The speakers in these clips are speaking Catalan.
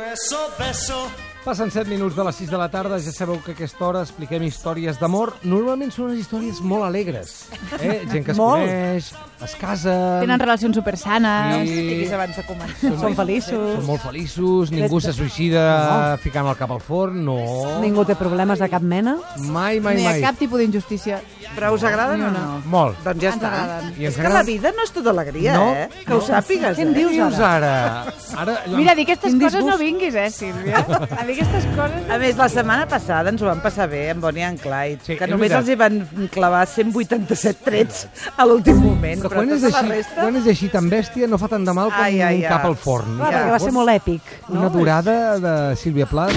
beso, beso. Passen 7 minuts de les 6 de la tarda, ja sabeu que a aquesta hora expliquem històries d'amor. Normalment són unes històries molt alegres. Eh? Gent que es Molt. coneix, es casa... Tenen relacions Sí. supersanes. No expliquis abans de començar. Són Són Són feliços. molt feliços, ningú se suïcida ficant el cap al forn, no. Ningú té problemes de cap mena. Mai, No mai, hi ha mai. cap tipus d'injustícia. Però us agraden o no? Molt. Doncs ja Ens està. agraden. I ens És que agraden. la vida no és tota alegria, No, eh? Que ho sàpigues, Què en eh? dius? Què dius ara? ara Mira, a dir aquestes Quin coses disgust. no vinguis, eh, Sílvia? A dir aquestes coses... A més, la setmana passada ens ho van passar bé amb Bonnie and Clyde, Sí, que és només veritat. els hi van clavar 187 trets a l'últim moment, Però però, quan és, tota la així, resta... quan és així tan bèstia no fa tant de mal com Ai, ai, un ai. cap al forn. Clar, Ja. perquè va ser molt èpic. No? Una durada de Sílvia Pla, de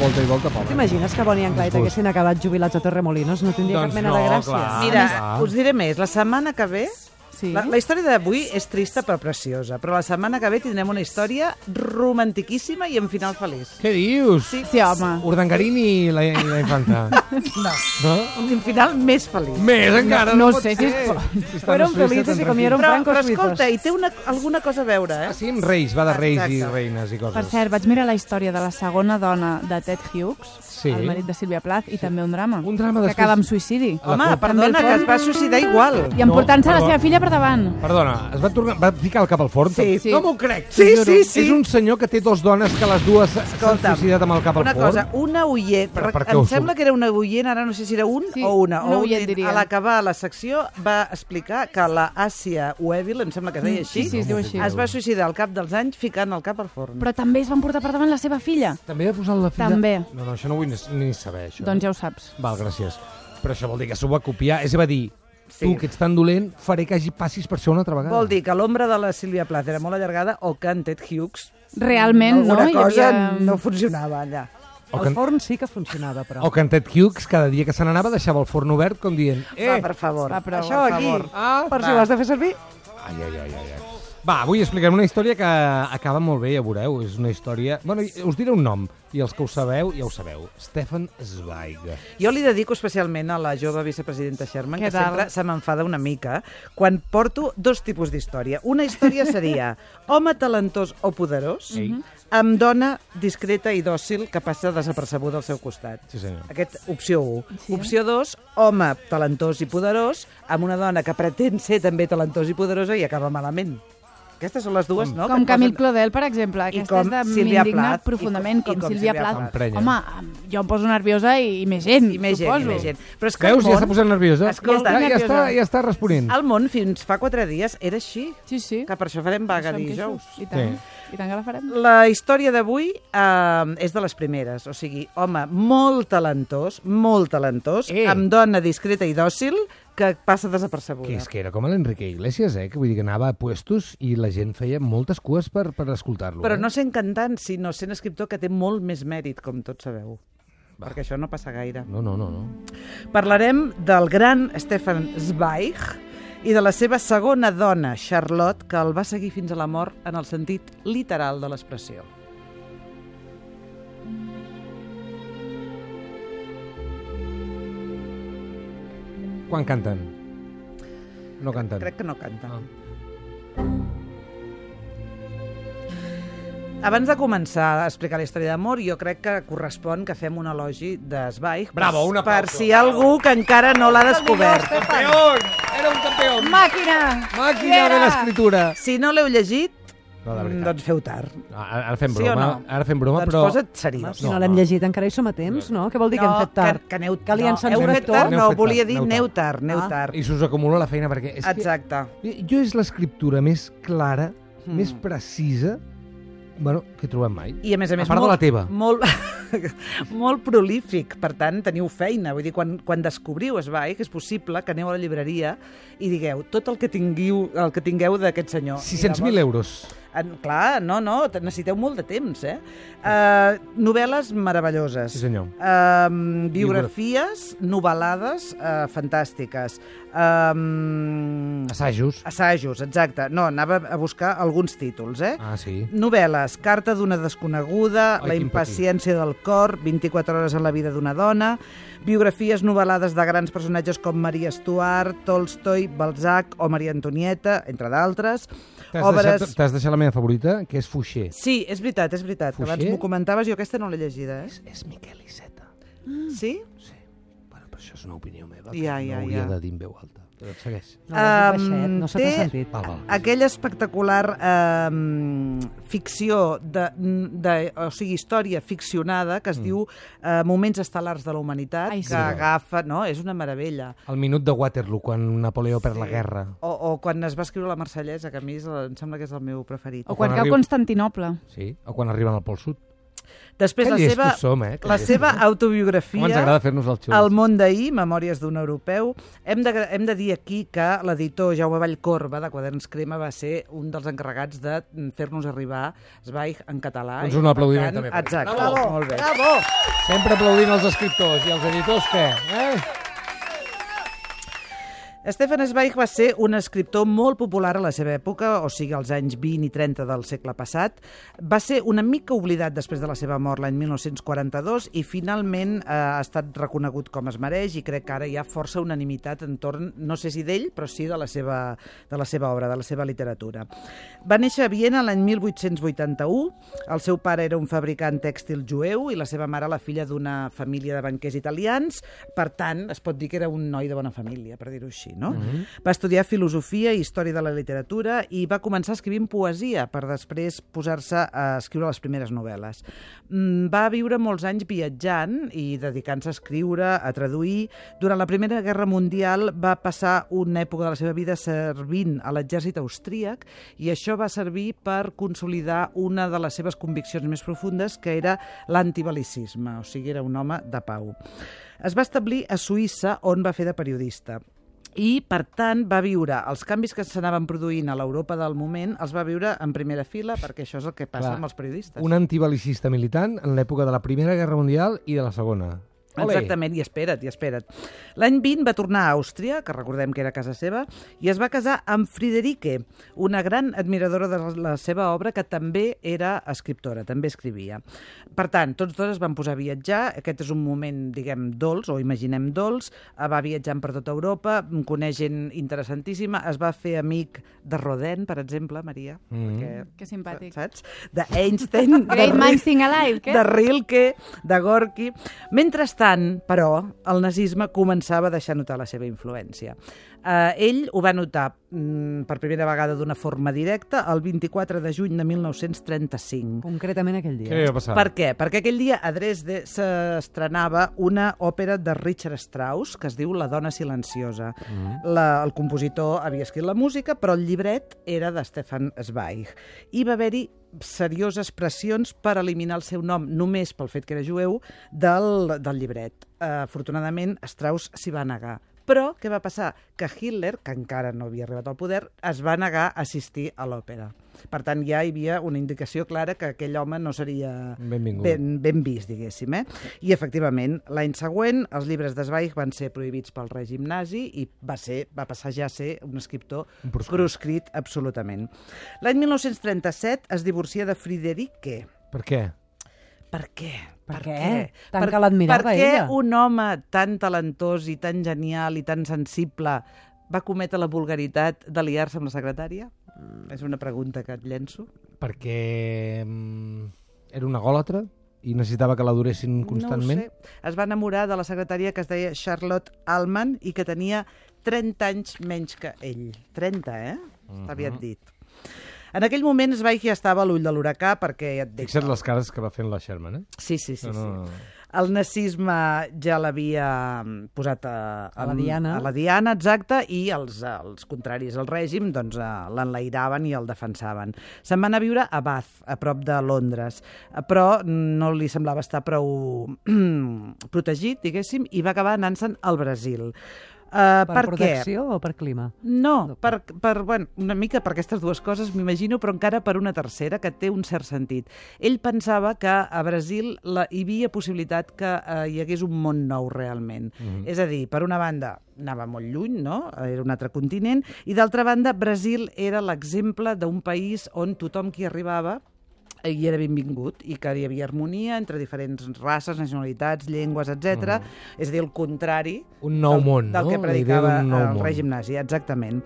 volta i volta, pobra. T'imagines que Bonnie and Clyde Disgust. haguessin acabat jubilats a Torremolinos? No tindria Doncs cap mena no, de gràcia. clar. Mira, Ah. us diré més, la setmana que ve... Sí. La, la història d'avui és trista però preciosa, però la setmana que ve tindrem una història romantiquíssima i amb final feliç. Què dius? Sí, home. Urdangarini i la, i la infanta. No. No? Un final més feliç. Més encara, no pot sé si és ser. por- Si estan Fueron a Suïssa, felices tan y comieron tranquils. Però, Francos però suïssos. escolta, hi té una, alguna cosa a veure, eh? Ah, sí, amb reis, va de reis i Exacte. reines i coses. Per cert, vaig mirar la història de la segona dona de Ted Hughes, Sí. el marit de Sílvia Plath, i també un drama. Un drama que després- acaba amb suïcidi. La Home, culpa- perdona, que es va suïcidar igual. I emportant-se No, la però- seva filla per davant. Perdona, es va, tornar, va ficar el cap al forn? Sí. Sí. No m'ho crec. Sí, t'ho juro. sí, sí. És un senyor que té dos dones que les dues s'han Escolta'm, suïcidat amb el cap al una forn. cosa, una oient, Però per què em ho sembla surt? que era una oient, ara no sé si era un Sí, o una, una o oient, diria. a l'acabar la secció va explicar que la Àsia Weville, em sembla que es deia així, Mm, sí, sí, es diu així. es va suïcidar al cap dels anys ficant el cap al forn. Però també es van portar per davant la seva filla. També ha posat la filla... També. No, no, això no vull ni, ni saber, això. eh? Doncs ja ho saps. Val, gràcies. Però això vol dir que s'ho va copiar. És a dir, Sí. tu, que ets tan dolent, faré que hagi passis per això una altra vegada. Vol dir que l'ombra de la Sílvia Plath era molt allargada o que en Ted Hughes Realment, no? alguna Hi cosa havia- no funcionava allà. O El que, forn sí que funcionava, però. o que en Ted Hughes, cada dia que se n'anava, deixava el forn obert com dient... Eh, Va, per favor. va, però, Això per aquí, favor. Ah, Per si ho has de fer servir. Ai, ai, ai, ai, ai. Va, avui explicarem una història que acaba molt bé, ja veureu. És una història... Bueno, i- us diré un nom, i els que ho sabeu, ja ho sabeu. Stefan Zweig. Jo li dedico especialment a la jove vicepresidenta Sherman, Què que tal? sempre se m'enfada una mica, quan porto dos tipus d'història. Una història seria home talentós o poderós, Ei. amb dona discreta i dòcil que passa desapercebuda al seu costat. Sí, senyor. Aquest, opció 1. Sí. Opció 2, home talentós i poderós, amb una dona que pretén ser també talentós i poderosa i acaba malament. Aquestes són les dues, no? Com que et Camil posen- Clodel, per exemple. Aquesta és com de Sílvia m'indignar Plath, profundament, i com- i com, com Sílvia Sílvia Plath. Plath. Emprenya. Home, jo em poso nerviosa i, i més gent, I més gent, suposo. i més gent. Però és que el Veus, ja món- s'ha posat eh? nerviosa. Escolta, ja, ja, nerviosa. està, ja està responent. El món fins fa quatre dies era així. Sí, sí. Que per això farem vaga Som dijous. queixos. I tant, i tant que la farem. La història d'avui eh, és de les primeres, o sigui, home molt talentós, molt talentós, Eh. amb dona discreta i dòcil que passa Que desapercebuda. és que era com l'Enrique Iglesias, eh? Que vull dir que anava a puestos i la gent feia moltes cues per, per escoltar-lo. Però eh? no sent cantant, sinó sent escriptor, que té molt més mèrit, com tots sabeu. Va. Perquè això no passa gaire. No, no, no. no. Parlarem del gran Stefan Zweig i de la seva segona dona, Charlotte, que el va seguir fins a la mort en el sentit literal de l'expressió. Quan canten? No canten. Crec que no canta. Ah. Abans de començar a explicar la història d'amor, jo crec que correspon que fem un elogi d'Esbaig Bravo, un per, aplauso. per si hi ha algú que encara no l'ha descobert. Campeón! Era un campeón! Màquina! Màquina de l'escriptura! Si no l'heu llegit, No, de veritat. doncs feu tard. Ara ara fem Sí o broma, no? ara fem broma, doncs però... posa't seriós. Si no, No, l'hem no. llegit, encara hi som a temps, no? Què vol dir que hem fet tard? Que, que aneu, Que li no, encens heu un fet actor? tard? Aneu No, fet volia tard, dir aneu aneu tard. tard, aneu Ah. tard. I s'us acumula la feina, perquè... És Exacte. Que... Jo és l'escriptura més clara, Mm. més precisa, bueno, que he trobat mai. I a més a més... A part de molt, la teva. Molt, molt prolífic, per tant, teniu feina. Vull dir, quan, quan descobriu Esbai, que és possible que aneu a la llibreria i digueu tot el que tingueu, el que tingueu d'aquest senyor. I 600.000 llavors- euros. En, clar, no, no, te- necessiteu molt de temps, eh? Uh, novel·les meravelloses. Sí, senyor. Um, biografies, novel·lades uh, fantàstiques. Um, Assajos. assajos, exacte. No, anava a buscar alguns títols, eh? Ah, sí. Novel·les, Carta d'una desconeguda, Ai, La quin impaciència del cor, 24 hores en la vida d'una dona, biografies novel·lades de grans personatges com Maria Stuart, Tolstoi, Balzac o Maria Antonieta, entre d'altres, T'has deixat, t'has deixat la meva favorita, que és Fuixer. Sí, és veritat, és veritat. Fuixer? Abans m'ho comentaves, jo aquesta no l'he llegida, eh? És Miquel Iceta. Sí? Sí. Bueno, però això és una opinió meva, Ja, ja, no hauria ja. de dir en veu alta. Però segueix. No, l'has Em, dit baixet, no se té- t'ha sentit. Va, va. Aquella espectacular eh, ficció, de, de, o sigui, història ficcionada que es mm. diu eh, Moments estel·lars de la humanitat, Ai, sí. que agafa... No, és una meravella. El minut de Waterloo, quan Napoleó perd la guerra. O, o quan es va escriure la Marsellesa, que a mi és, el- em sembla que és el meu preferit. O quan quan cau arriba- Constantinople. Sí, o quan arriben al Pol Sud. Després, Que la llestos seva, som, eh? Que la llestos. Com seva ens agrada autobiografia, fer-nos el xulo. El món d'ahir, Memòries d'un europeu, hem de, hem de dir aquí que l'editor Jaume Vallcorba, de Quaderns Crema, va ser un dels encarregats de fer-nos arribar Zweig en català. Doncs I, un per aplaudiment tant, també per ell. Exacte, Bravo! molt bé. Sempre aplaudint els escriptors i els editors, què? Eh? Stefan Zweig va ser un escriptor molt popular a la seva època, o sigui, als anys 20 i 30 del segle passat. Va ser una mica oblidat després de la seva mort l'any 1942 i finalment eh, ha estat reconegut com es mereix i crec que ara hi ha força unanimitat entorn, no sé si d'ell, però sí de la, seva, de la seva obra, de la seva literatura. Va néixer a Viena l'any 1881. El seu pare era un fabricant tèxtil jueu i la seva mare la filla d'una família de banquers italians. Per tant, es pot dir que era un noi de bona família, per dir-ho així, no? Mm -hmm. Va estudiar filosofia i història de la literatura i va començar escrivint poesia per després posar-se a escriure les primeres novel·les. Mm, Va viure molts anys viatjant i dedicant-se a escriure, a traduir. Durant la Primera Guerra Mundial va passar una època de la seva vida servint a l'exèrcit austríac i això va servir per consolidar una de les seves conviccions més profundes, que era l'antibalicisme, o sigui, era un home de pau. Es va establir a Suïssa, on va fer de periodista i, per tant, va viure els canvis que s'anaven produint a l'Europa del moment, els va viure en primera fila, perquè això és el que passa Clar. amb els periodistes. Un antibalicista militant en l'època de la Primera Guerra Mundial i de la Segona. Ole! Exactament, i espera't, i espera't. L'any 20 va tornar a Àustria, que recordem que era casa seva, i es va casar amb Friederike, una gran admiradora de la seva obra que també era escriptora, també escrivia. Per tant, tots dos es van posar a viatjar, aquest és un moment, diguem, dolç, o imaginem dolç, Eh, va viatjant per tota Europa, coneix gent interessantíssima, es va fer amic de Rodin, per exemple, Maria, mm -hmm. perquè Que simpàtic. saps? D'Einstein, de Great Ri- Minds Think Alike, què? de Rilke, de Gorky... Mentrestant, però, el nazisme començava a deixar notar la seva influència. Eh, ell ho va notar mm, per primera vegada d'una forma directa el 24 de juny de 1935. Concretament aquell Què li dia. va passar? Per què? Perquè aquell dia a Dresde s'estrenava una òpera de Richard Strauss que es diu La dona silenciosa. Mm. La, el compositor havia escrit la música, però el llibret era de Stefan Zweig. I va haver-hi serioses pressions per eliminar el seu nom, només pel fet que era jueu, del, del llibret. Eh, afortunadament, Strauss s'hi va negar. Però què va passar? Que Hitler, que encara no havia arribat al poder, es va negar a assistir a l'òpera. Per tant, ja hi havia una indicació clara que aquell home no seria Benvingut. ben, ben vist, diguéssim. Eh? I, efectivament, l'any següent els llibres de Zweig van ser prohibits pel règim nazi i va, ser, va passar ja a ser un escriptor proscrit. proscrit, proscrit absolutament. L'any 1937 es divorcia de Friederike, Per què? per què? Per què? Tant que l'admirava per què ella. un home tan talentós i tan genial i tan sensible va cometre la vulgaritat de liar-se amb la secretària? Mm. És una pregunta que et llenço. Perquè mm, era una gòlatra i necessitava que la duressin constantment? No ho sé. Es va enamorar de la secretària que es deia Charlotte Alman i que tenia 30 anys menys que ell. 30, eh? Està Mhm. aviat dit. En aquell moment Zweig ja estava a l'ull de l'huracà perquè ja et dic... Fixa't les cares que va fent la Sherman, eh? Sí, sí, sí. No, sí. no, no. El nazisme ja l'havia mm, posat a, mm, A la diana. A la diana, exacte, i els, eh, els contraris al règim doncs, eh, l'enlairaven i el defensaven. Se'n va anar a viure a Bath, a prop de Londres, eh, però no li semblava estar prou protegit, diguéssim, i va acabar anant-se'n al Brasil. Uh, Per, per què? protecció o per clima? No, per, per, bueno, una mica per aquestes dues coses, m'imagino, però encara per una tercera, que té un cert sentit. Ell pensava que a Brasil la, hi havia possibilitat que eh, hi hagués un món nou realment. Mm -hmm. És a dir, per una banda, anava molt lluny, no? era un altre continent, i d'altra banda, Brasil era l'exemple d'un país on tothom qui arribava eh, hi era benvingut i que hi havia harmonia entre diferents races, nacionalitats, llengües, etc. Mm. És a dir, el contrari -hmm. Un nou del, món, del no? que La idea predicava d'un nou el món. règim nazi, exactament.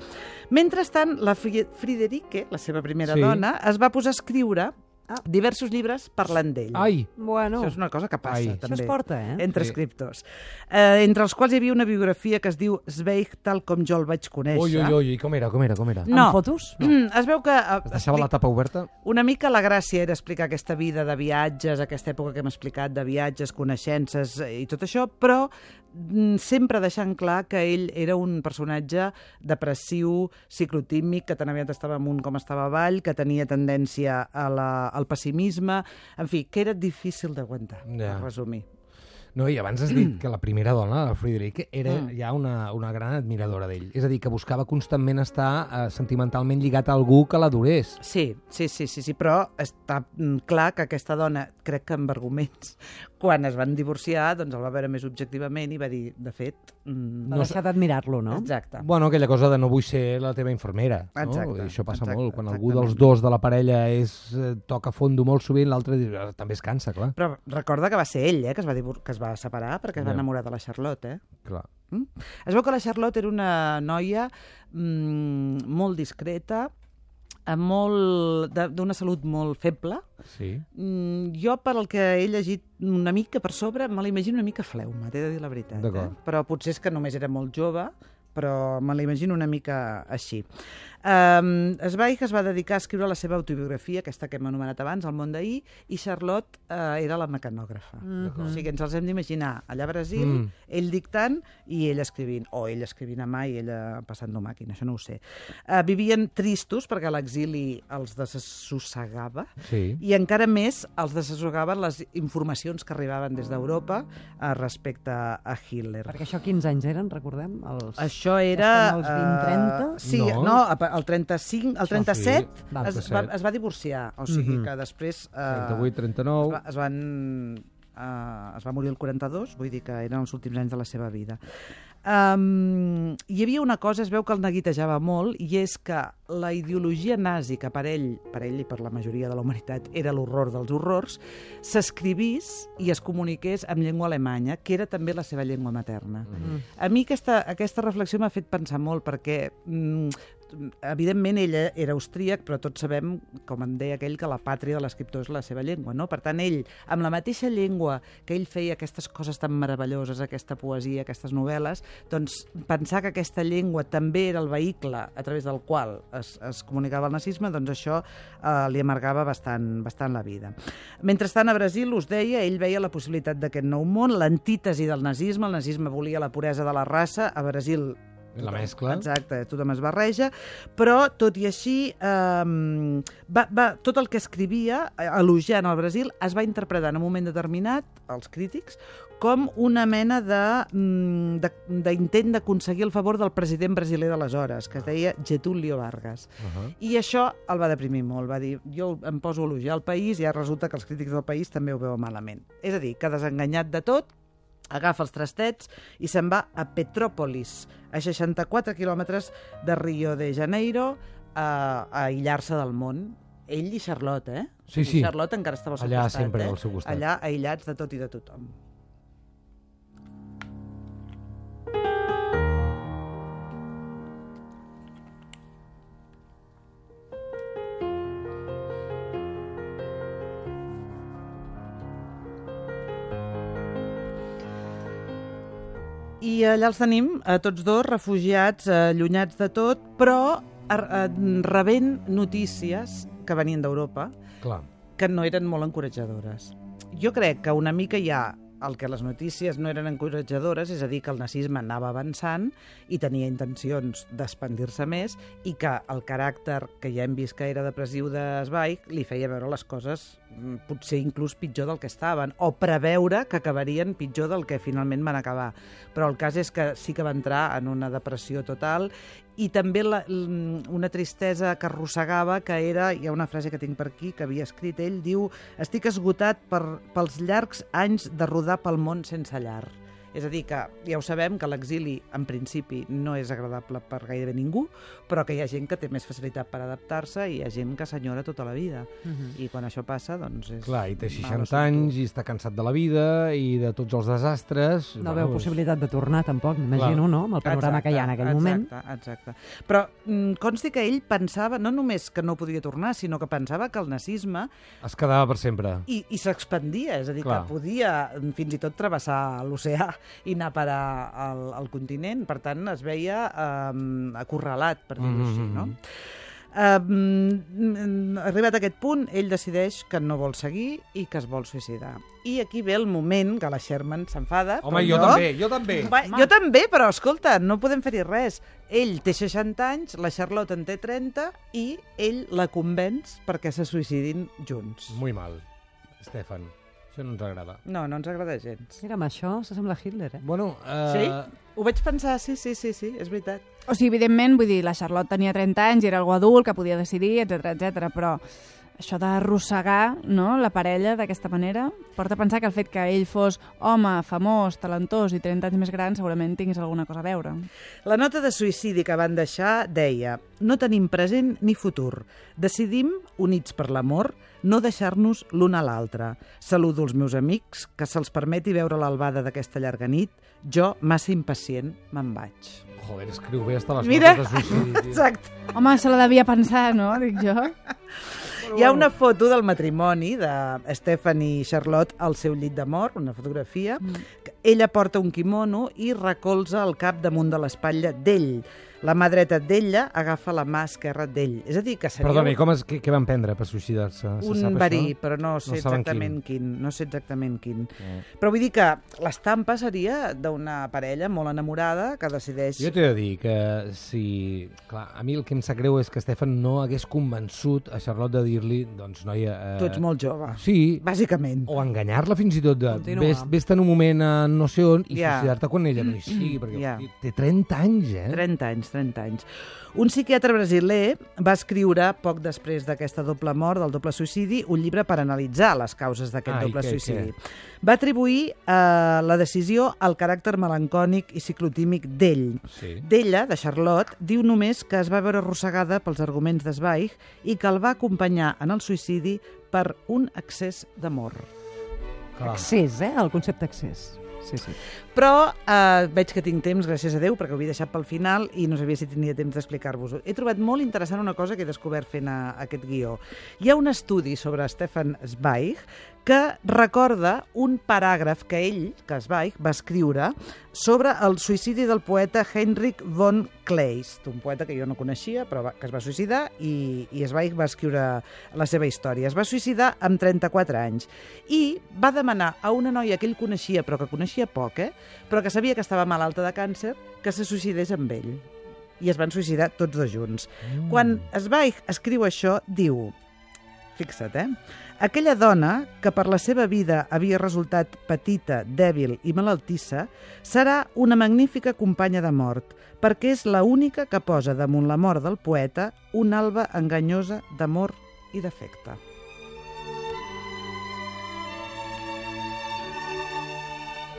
Mentrestant, la Fri- Friederike, la seva primera Sí. Ah. dona, es va posar a escriure diversos llibres parlant d'ell. Ai, Bueno, Això és una cosa que passa, Ai. Això es també. porta, eh? Entre Sí. sí. escriptors. Eh, entre els quals hi havia una biografia que es diu Zweig, tal com jo el vaig conèixer. ui, ui, ui, i com era, com era, com era? ah? No. amb fotos? Mm, Es veu que... eh, Es deixava la tapa oberta? Una mica la gràcia era explicar aquesta vida de viatges, aquesta època que hem explicat de viatges, coneixences eh, i tot això, però mm, sempre deixant clar que ell era un personatge depressiu, ciclotímic, que tan aviat estava amunt com estava avall, que tenia tendència a la, al pessimisme, en fi, que era difícil d'aguantar, Ja. yeah. per resumir. No, i abans has dit que la primera dona, la Friederike, era ja una, una gran admiradora d'ell. És a dir, que buscava constantment estar eh, sentimentalment lligat a algú que l'adorés. Sí, sí, sí, sí, sí, però està mm, clar que aquesta dona, crec que amb arguments, quan es van divorciar, doncs el va veure més objectivament i va dir, de fet... mm, Va deixar d'admirar-lo, no? Exacte. Bueno, aquella cosa de no vull ser la teva infermera. Exacte, no? I això passa exacte, molt. Quan algú exactament. dels dos de la parella és, eh, toca fondo molt sovint, l'altre diu, "Ah, també es cansa, clar. Però recorda que va ser ell eh, que, es va divor- que es va separar perquè es va Ja. enamorar de la Charlotte. Eh? clar. Mm? Es veu que la Charlotte era una noia mm, molt discreta, eh, molt de- d'una salut molt feble. Sí. Mm, jo, per el que he llegit una mica per sobre, me l'imagino una mica fleuma, t'he de dir la veritat. Eh? D'acord. Però potser és que només era molt jove, però me l'imagino una mica així. Um, Zweig es va dedicar a escriure la seva autobiografia, aquesta que hem anomenat abans, El món d'ahir, i Charlotte uh, era la mecanògrafa. Mm -hmm. O sigui, ens els hem d'imaginar allà a Brasil, Mm. mm. ell dictant i ell escrivint, o ell escrivint a mà i ella passant-ho a màquina, això no ho sé. Uh, vivien tristos perquè l'exili els desassossegava, Sí. i eh, encara més els desassogaven les informacions que arribaven des d'Europa eh, respecte a Hitler. Perquè això 15 anys eren, recordem? Els... Això Estem era... als 20-30? eh, sí, No. no. no, el 35, el 37 sí, Mhm. sí, es, va, 37. es va divorciar, o sigui mm -hmm. que després... eh, 38, es, 39... va, es van... Uh, es va morir el 42, vull dir que eren els últims anys de la seva vida. Um, hi havia una cosa, es veu que el neguitejava molt, i és que la ideologia nazi, que per ell, per ell i per la majoria de la humanitat era l'horror dels horrors, s'escrivís i es comuniqués amb llengua alemanya, que era també la seva llengua materna. Mm. A mi aquesta, aquesta reflexió m'ha fet pensar molt, perquè mm, evidentment ella era austríac, però tots sabem, com en deia aquell, que la pàtria de l'escriptor és la seva llengua, no? Per tant, ell, amb la mateixa llengua que ell feia aquestes coses tan meravelloses, aquesta poesia, aquestes novel·les, doncs pensar que aquesta llengua també era el vehicle a través del qual es, es comunicava el nazisme, doncs això eh, li amargava bastant, bastant la vida. Mentrestant, a Brasil, us deia, ell veia la possibilitat d'aquest nou món, l'antítesi del nazisme, el nazisme volia la puresa de la raça, a Brasil La mescla. Exacte, tothom es barreja, però tot i així eh, va, va, tot el que escrivia eh, elogiant el Brasil es va interpretar en un moment determinat, els crítics, com una mena de, mm, de- d'intent d'aconseguir el favor del president brasiler d'aleshores, que es deia Getúlio Vargas. Uh -huh. I això el va deprimir molt, va dir, jo em poso a elogiar el país i ara resulta que els crítics del país també ho veuen malament. És a dir, que desenganyat de tot, agafa els trastets i se'n va a Petrópolis, a 64 quilòmetres de Rio de Janeiro, a, a aïllar-se del món. Ell i Charlotte, eh? Sí, sí. Charlotte encara estava al seu Allà costat, sempre eh? al seu costat. Allà aïllats de tot i de tothom. I eh, allà els tenim, a tots dos, refugiats, eh, allunyats de tot, però ar- eh, rebent notícies que venien d'Europa Clar. que no eren molt encoratjadores. Jo crec que una mica ja el que les notícies no eren encoratjadores, és a dir, que el nazisme anava avançant i tenia intencions d'expandir-se més i que el caràcter que ja hem vist que era depressiu de Zweig li feia veure les coses mm, potser inclús pitjor del que estaven o preveure que acabarien pitjor del que finalment van acabar. Però el cas és que sí que va entrar en una depressió total i també la, l- una tristesa que arrossegava, que era, hi ha una frase que tinc per aquí, que havia escrit ell, diu, estic esgotat per, pels llargs anys de rodar pel món sense llar. És a dir, que ja ho sabem, que l'exili en principi no és agradable per gairebé ningú, però que hi ha gent que té més facilitat per adaptar-se i hi ha gent que s'enyora tota la vida. I quan això passa, doncs... És Mhm. Clar, i té 60 mala sortida. anys i està cansat de la vida i de tots els desastres. No veu possibilitat de tornar, tampoc, m'imagino, Clar. no? Amb el panorama que hi ha en aquell exacte, moment. Exacte, exacte. Però mm, consti que ell pensava, no només que no podria tornar, sinó que pensava que el nazisme Es quedava per sempre. i, i s'expandia, és a dir, Clar. Clar. que podia mm, fins i tot travessar l'oceà i anar a parar al, al continent. Per tant, es veia eh, acorralat, per dir-ho Mm-hmm. mm -hmm. així, Mhm. no? Um, arribat a aquest punt, ell decideix que no vol seguir i que es vol suïcidar. I aquí ve el moment que la Sherman s'enfada. Home, com jo també, jo també. Va, jo també, però escolta, no podem fer-hi res. Ell té 60 anys, la Charlotte en té 30 i ell la convenç perquè se suïcidin junts. Muy mal, Stefan. Això no ens agrada. No, no ens agrada gens. Mira, amb això s'assembla a Hitler, eh? Bueno, eh, Sí? Ho vaig pensar, sí, sí, sí, sí, és veritat. O sigui, evidentment, vull dir, la Charlotte tenia 30 anys i era algú adult que podia decidir, etc etc. però això d'arrossegar no, la parella d'aquesta manera porta a pensar que el fet que ell fos home, famós, talentós i 30 anys més gran segurament tingués alguna cosa a veure. La nota de suïcidi que van deixar deia «No tenim present ni futur. Decidim, units per l'amor, no deixar-nos l'un a l'altre. Saludo els meus amics, que se'ls permeti veure l'albada d'aquesta llarga nit. Jo, massa impacient, me'n vaig». Joder, escriu bé hasta les Mira. notes de suïcidi. tio. Exacte. Home, se la devia pensar, no? Dic jo. Hi ha una foto del matrimoni de Stephanie Charlotte al seu llit de mort, una fotografia. Mm. que Ella porta un kimono i recolza el cap damunt de l'espatlla d'ell. La mà dreta d'ella agafa la mà esquerra d'ell. És a dir, que seria Perdona, i com es, què, què van prendre per suïcidar-se? Se sap un això? verí, però no sé saben exactament quin. No sé exactament quin. Eh. Però vull dir que l'estampa seria d'una parella molt enamorada que decideix... Jo t'he de dir que si... Clar, a mi el que em sap greu és que Stefan no hagués convençut a Charlotte de dir-li, doncs, noia... Eh, Tu ets molt jove, Sí, bàsicament. o enganyar-la fins i tot de Continua. vés, vés en un moment a no sé on i Ja. suïcidar-te quan ella no hi sigui, perquè Ja. hosti, té 30 anys, eh? 30 anys, 30 anys. Un psiquiatre brasiler va escriure, poc després d'aquesta doble mort, del doble suïcidi, un llibre per analitzar les causes d'aquest Ah, i doble què, suïcidi. Va atribuir eh, la decisió al caràcter melancònic i ciclotímic d'ell. Sí. D'ella, de Charlotte, diu només que es va veure arrossegada pels arguments de Zweig i que el va acompanyar en el suïcidi per un excés d'amor. Clar. Accés, eh? El concepte accés. Sí, sí. Però eh, veig que tinc temps, gràcies a Déu, perquè ho havia deixat pel final i no sabia si tenia temps d'explicar-vos-ho. He trobat molt interessant una cosa que he descobert fent a, aquest guió. Hi ha un estudi sobre Stefan Zweig que recorda un paràgraf que ell, que Zweig, va escriure sobre el suïcidi del poeta Heinrich von Kleist, un poeta que jo no coneixia, però va, que es va suïcidar i, i Zweig va escriure la seva història. Es va suïcidar amb 34 anys i va demanar a una noia que ell coneixia, però que coneixia poc, eh? però que sabia que estava malalta de càncer, que se suïcidés amb ell. I es van suïcidar tots dos junts. Mm. Quan Zweig escriu això, diu... Fixa't, eh? Aquella dona, que per la seva vida havia resultat petita, dèbil i malaltissa, serà una magnífica companya de mort, perquè és la única que posa damunt la mort del poeta una alba enganyosa d'amor i d'afecte.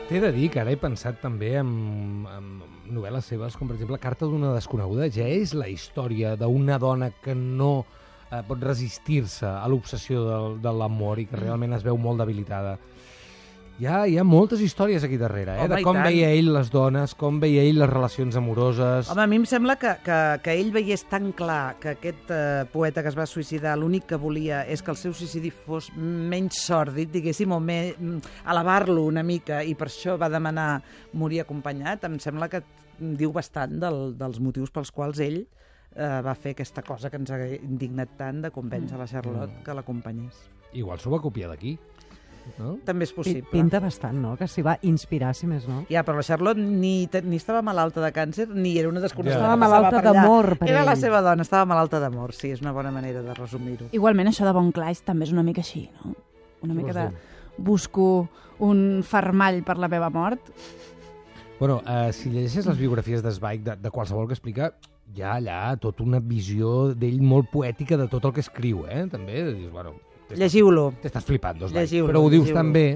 T'he de dir que ara he pensat també en, en novel·les seves, com per exemple Carta d'una desconeguda, ja és la història d'una dona que no eh, pot resistir-se a l'obsessió de, de l'amor i Mm. que realment es veu molt debilitada. Hi ha, hi ha moltes històries aquí darrere, eh? Home, de i com tant. veia ell les dones, com veia ell les relacions amoroses... Home, a mi em sembla que, que, que ell veiés tan clar que aquest eh, poeta que es va suïcidar l'únic que volia és que el seu suïcidi fos menys sòrdid, diguéssim, o me- mm, elevar-lo una mica, i per això va demanar morir acompanyat, em sembla que diu bastant del, dels motius pels quals ell eh, va fer aquesta cosa que ens ha indignat tant de convèncer la Charlotte que l'acompanyés. Igual s'ho va copiar d'aquí, no? També és Pi- possible. Pinta bastant, no? Que s'hi va inspirar, si més no. Ja, però la Charlotte ni, te- ni estava malalta de càncer, ni era una desconeguda. Estava que passava Ah, malalta per allà. d'amor per Era la ell. seva dona, estava malalta d'amor, sí, és una bona manera de resumir-ho. Igualment, això de Bon Claix també és una mica així, no? Una Què mica de vols busco un fermall per la meva mort. Bueno, eh, si llegeixes les biografies de Zweig, de, de qualsevol que explica, hi ha allà tota una visió d'ell molt poètica de tot el que escriu, eh? També dius, bueno, t'estàs- Llegiu-lo. t'estàs flipant, Zweig. Llegiu-lo, Però ho dius llegiu-lo. tan bé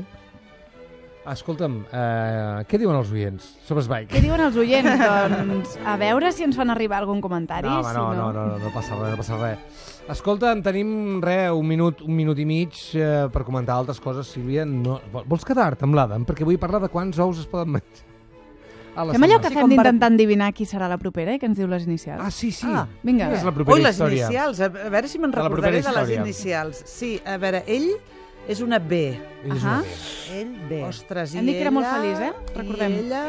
Escolta'm, eh, què diuen els oients sobre Spike? Què diuen els oients? doncs a veure si ens fan arribar algun comentari. No, home, si no, no, no, no, no passa res, no passa res. Escolta, en tenim re, un minut, un minut i mig eh, per comentar altres coses, Sílvia. No... vol- Vols quedar-te amb l'Adam? Perquè vull parlar de quants ous es poden menjar. A la Fem setmana. allò que Sí, fem com per- d'intentar endevinar qui serà la propera i que ens diu les inicials. Ah, sí, sí. Ah, vinga. Quina és la Ui, propera les història? inicials, a a veure si me'n De la recordaré propera de les història. inicials. Sí, a veure, ell és una B. Ell és Ahà. una vella. Ell bé. Ostres, Em i dic que era molt ella- feliç, eh? Recordem. I ella...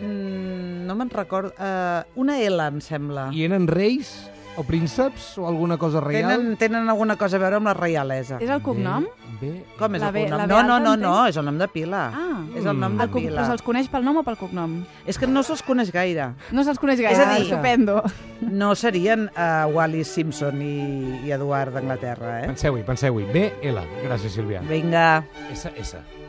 Mm, no me'n recordo... Uh, una L, em sembla. I eren reis o prínceps o alguna cosa reial? Tenen, tenen alguna cosa a veure amb la reialesa. És el cognom? Bé, bé. Com és La el B- la cognom? B No, no, alta, no, entenc. no, és el nom de pila. Ah, És el Mm. nom de el cognom, pila. però se'ls Doncs coneix pel nom o pel cognom? És que no se'ls coneix gaire. No se'ls coneix gaire, És a dir- estupendo. No serien uh, Wallis Simpson i, i Eduard d'Anglaterra, eh? Penseu-hi, penseu-hi. B-L. Gràcies, Sílvia. Vinga. S-S.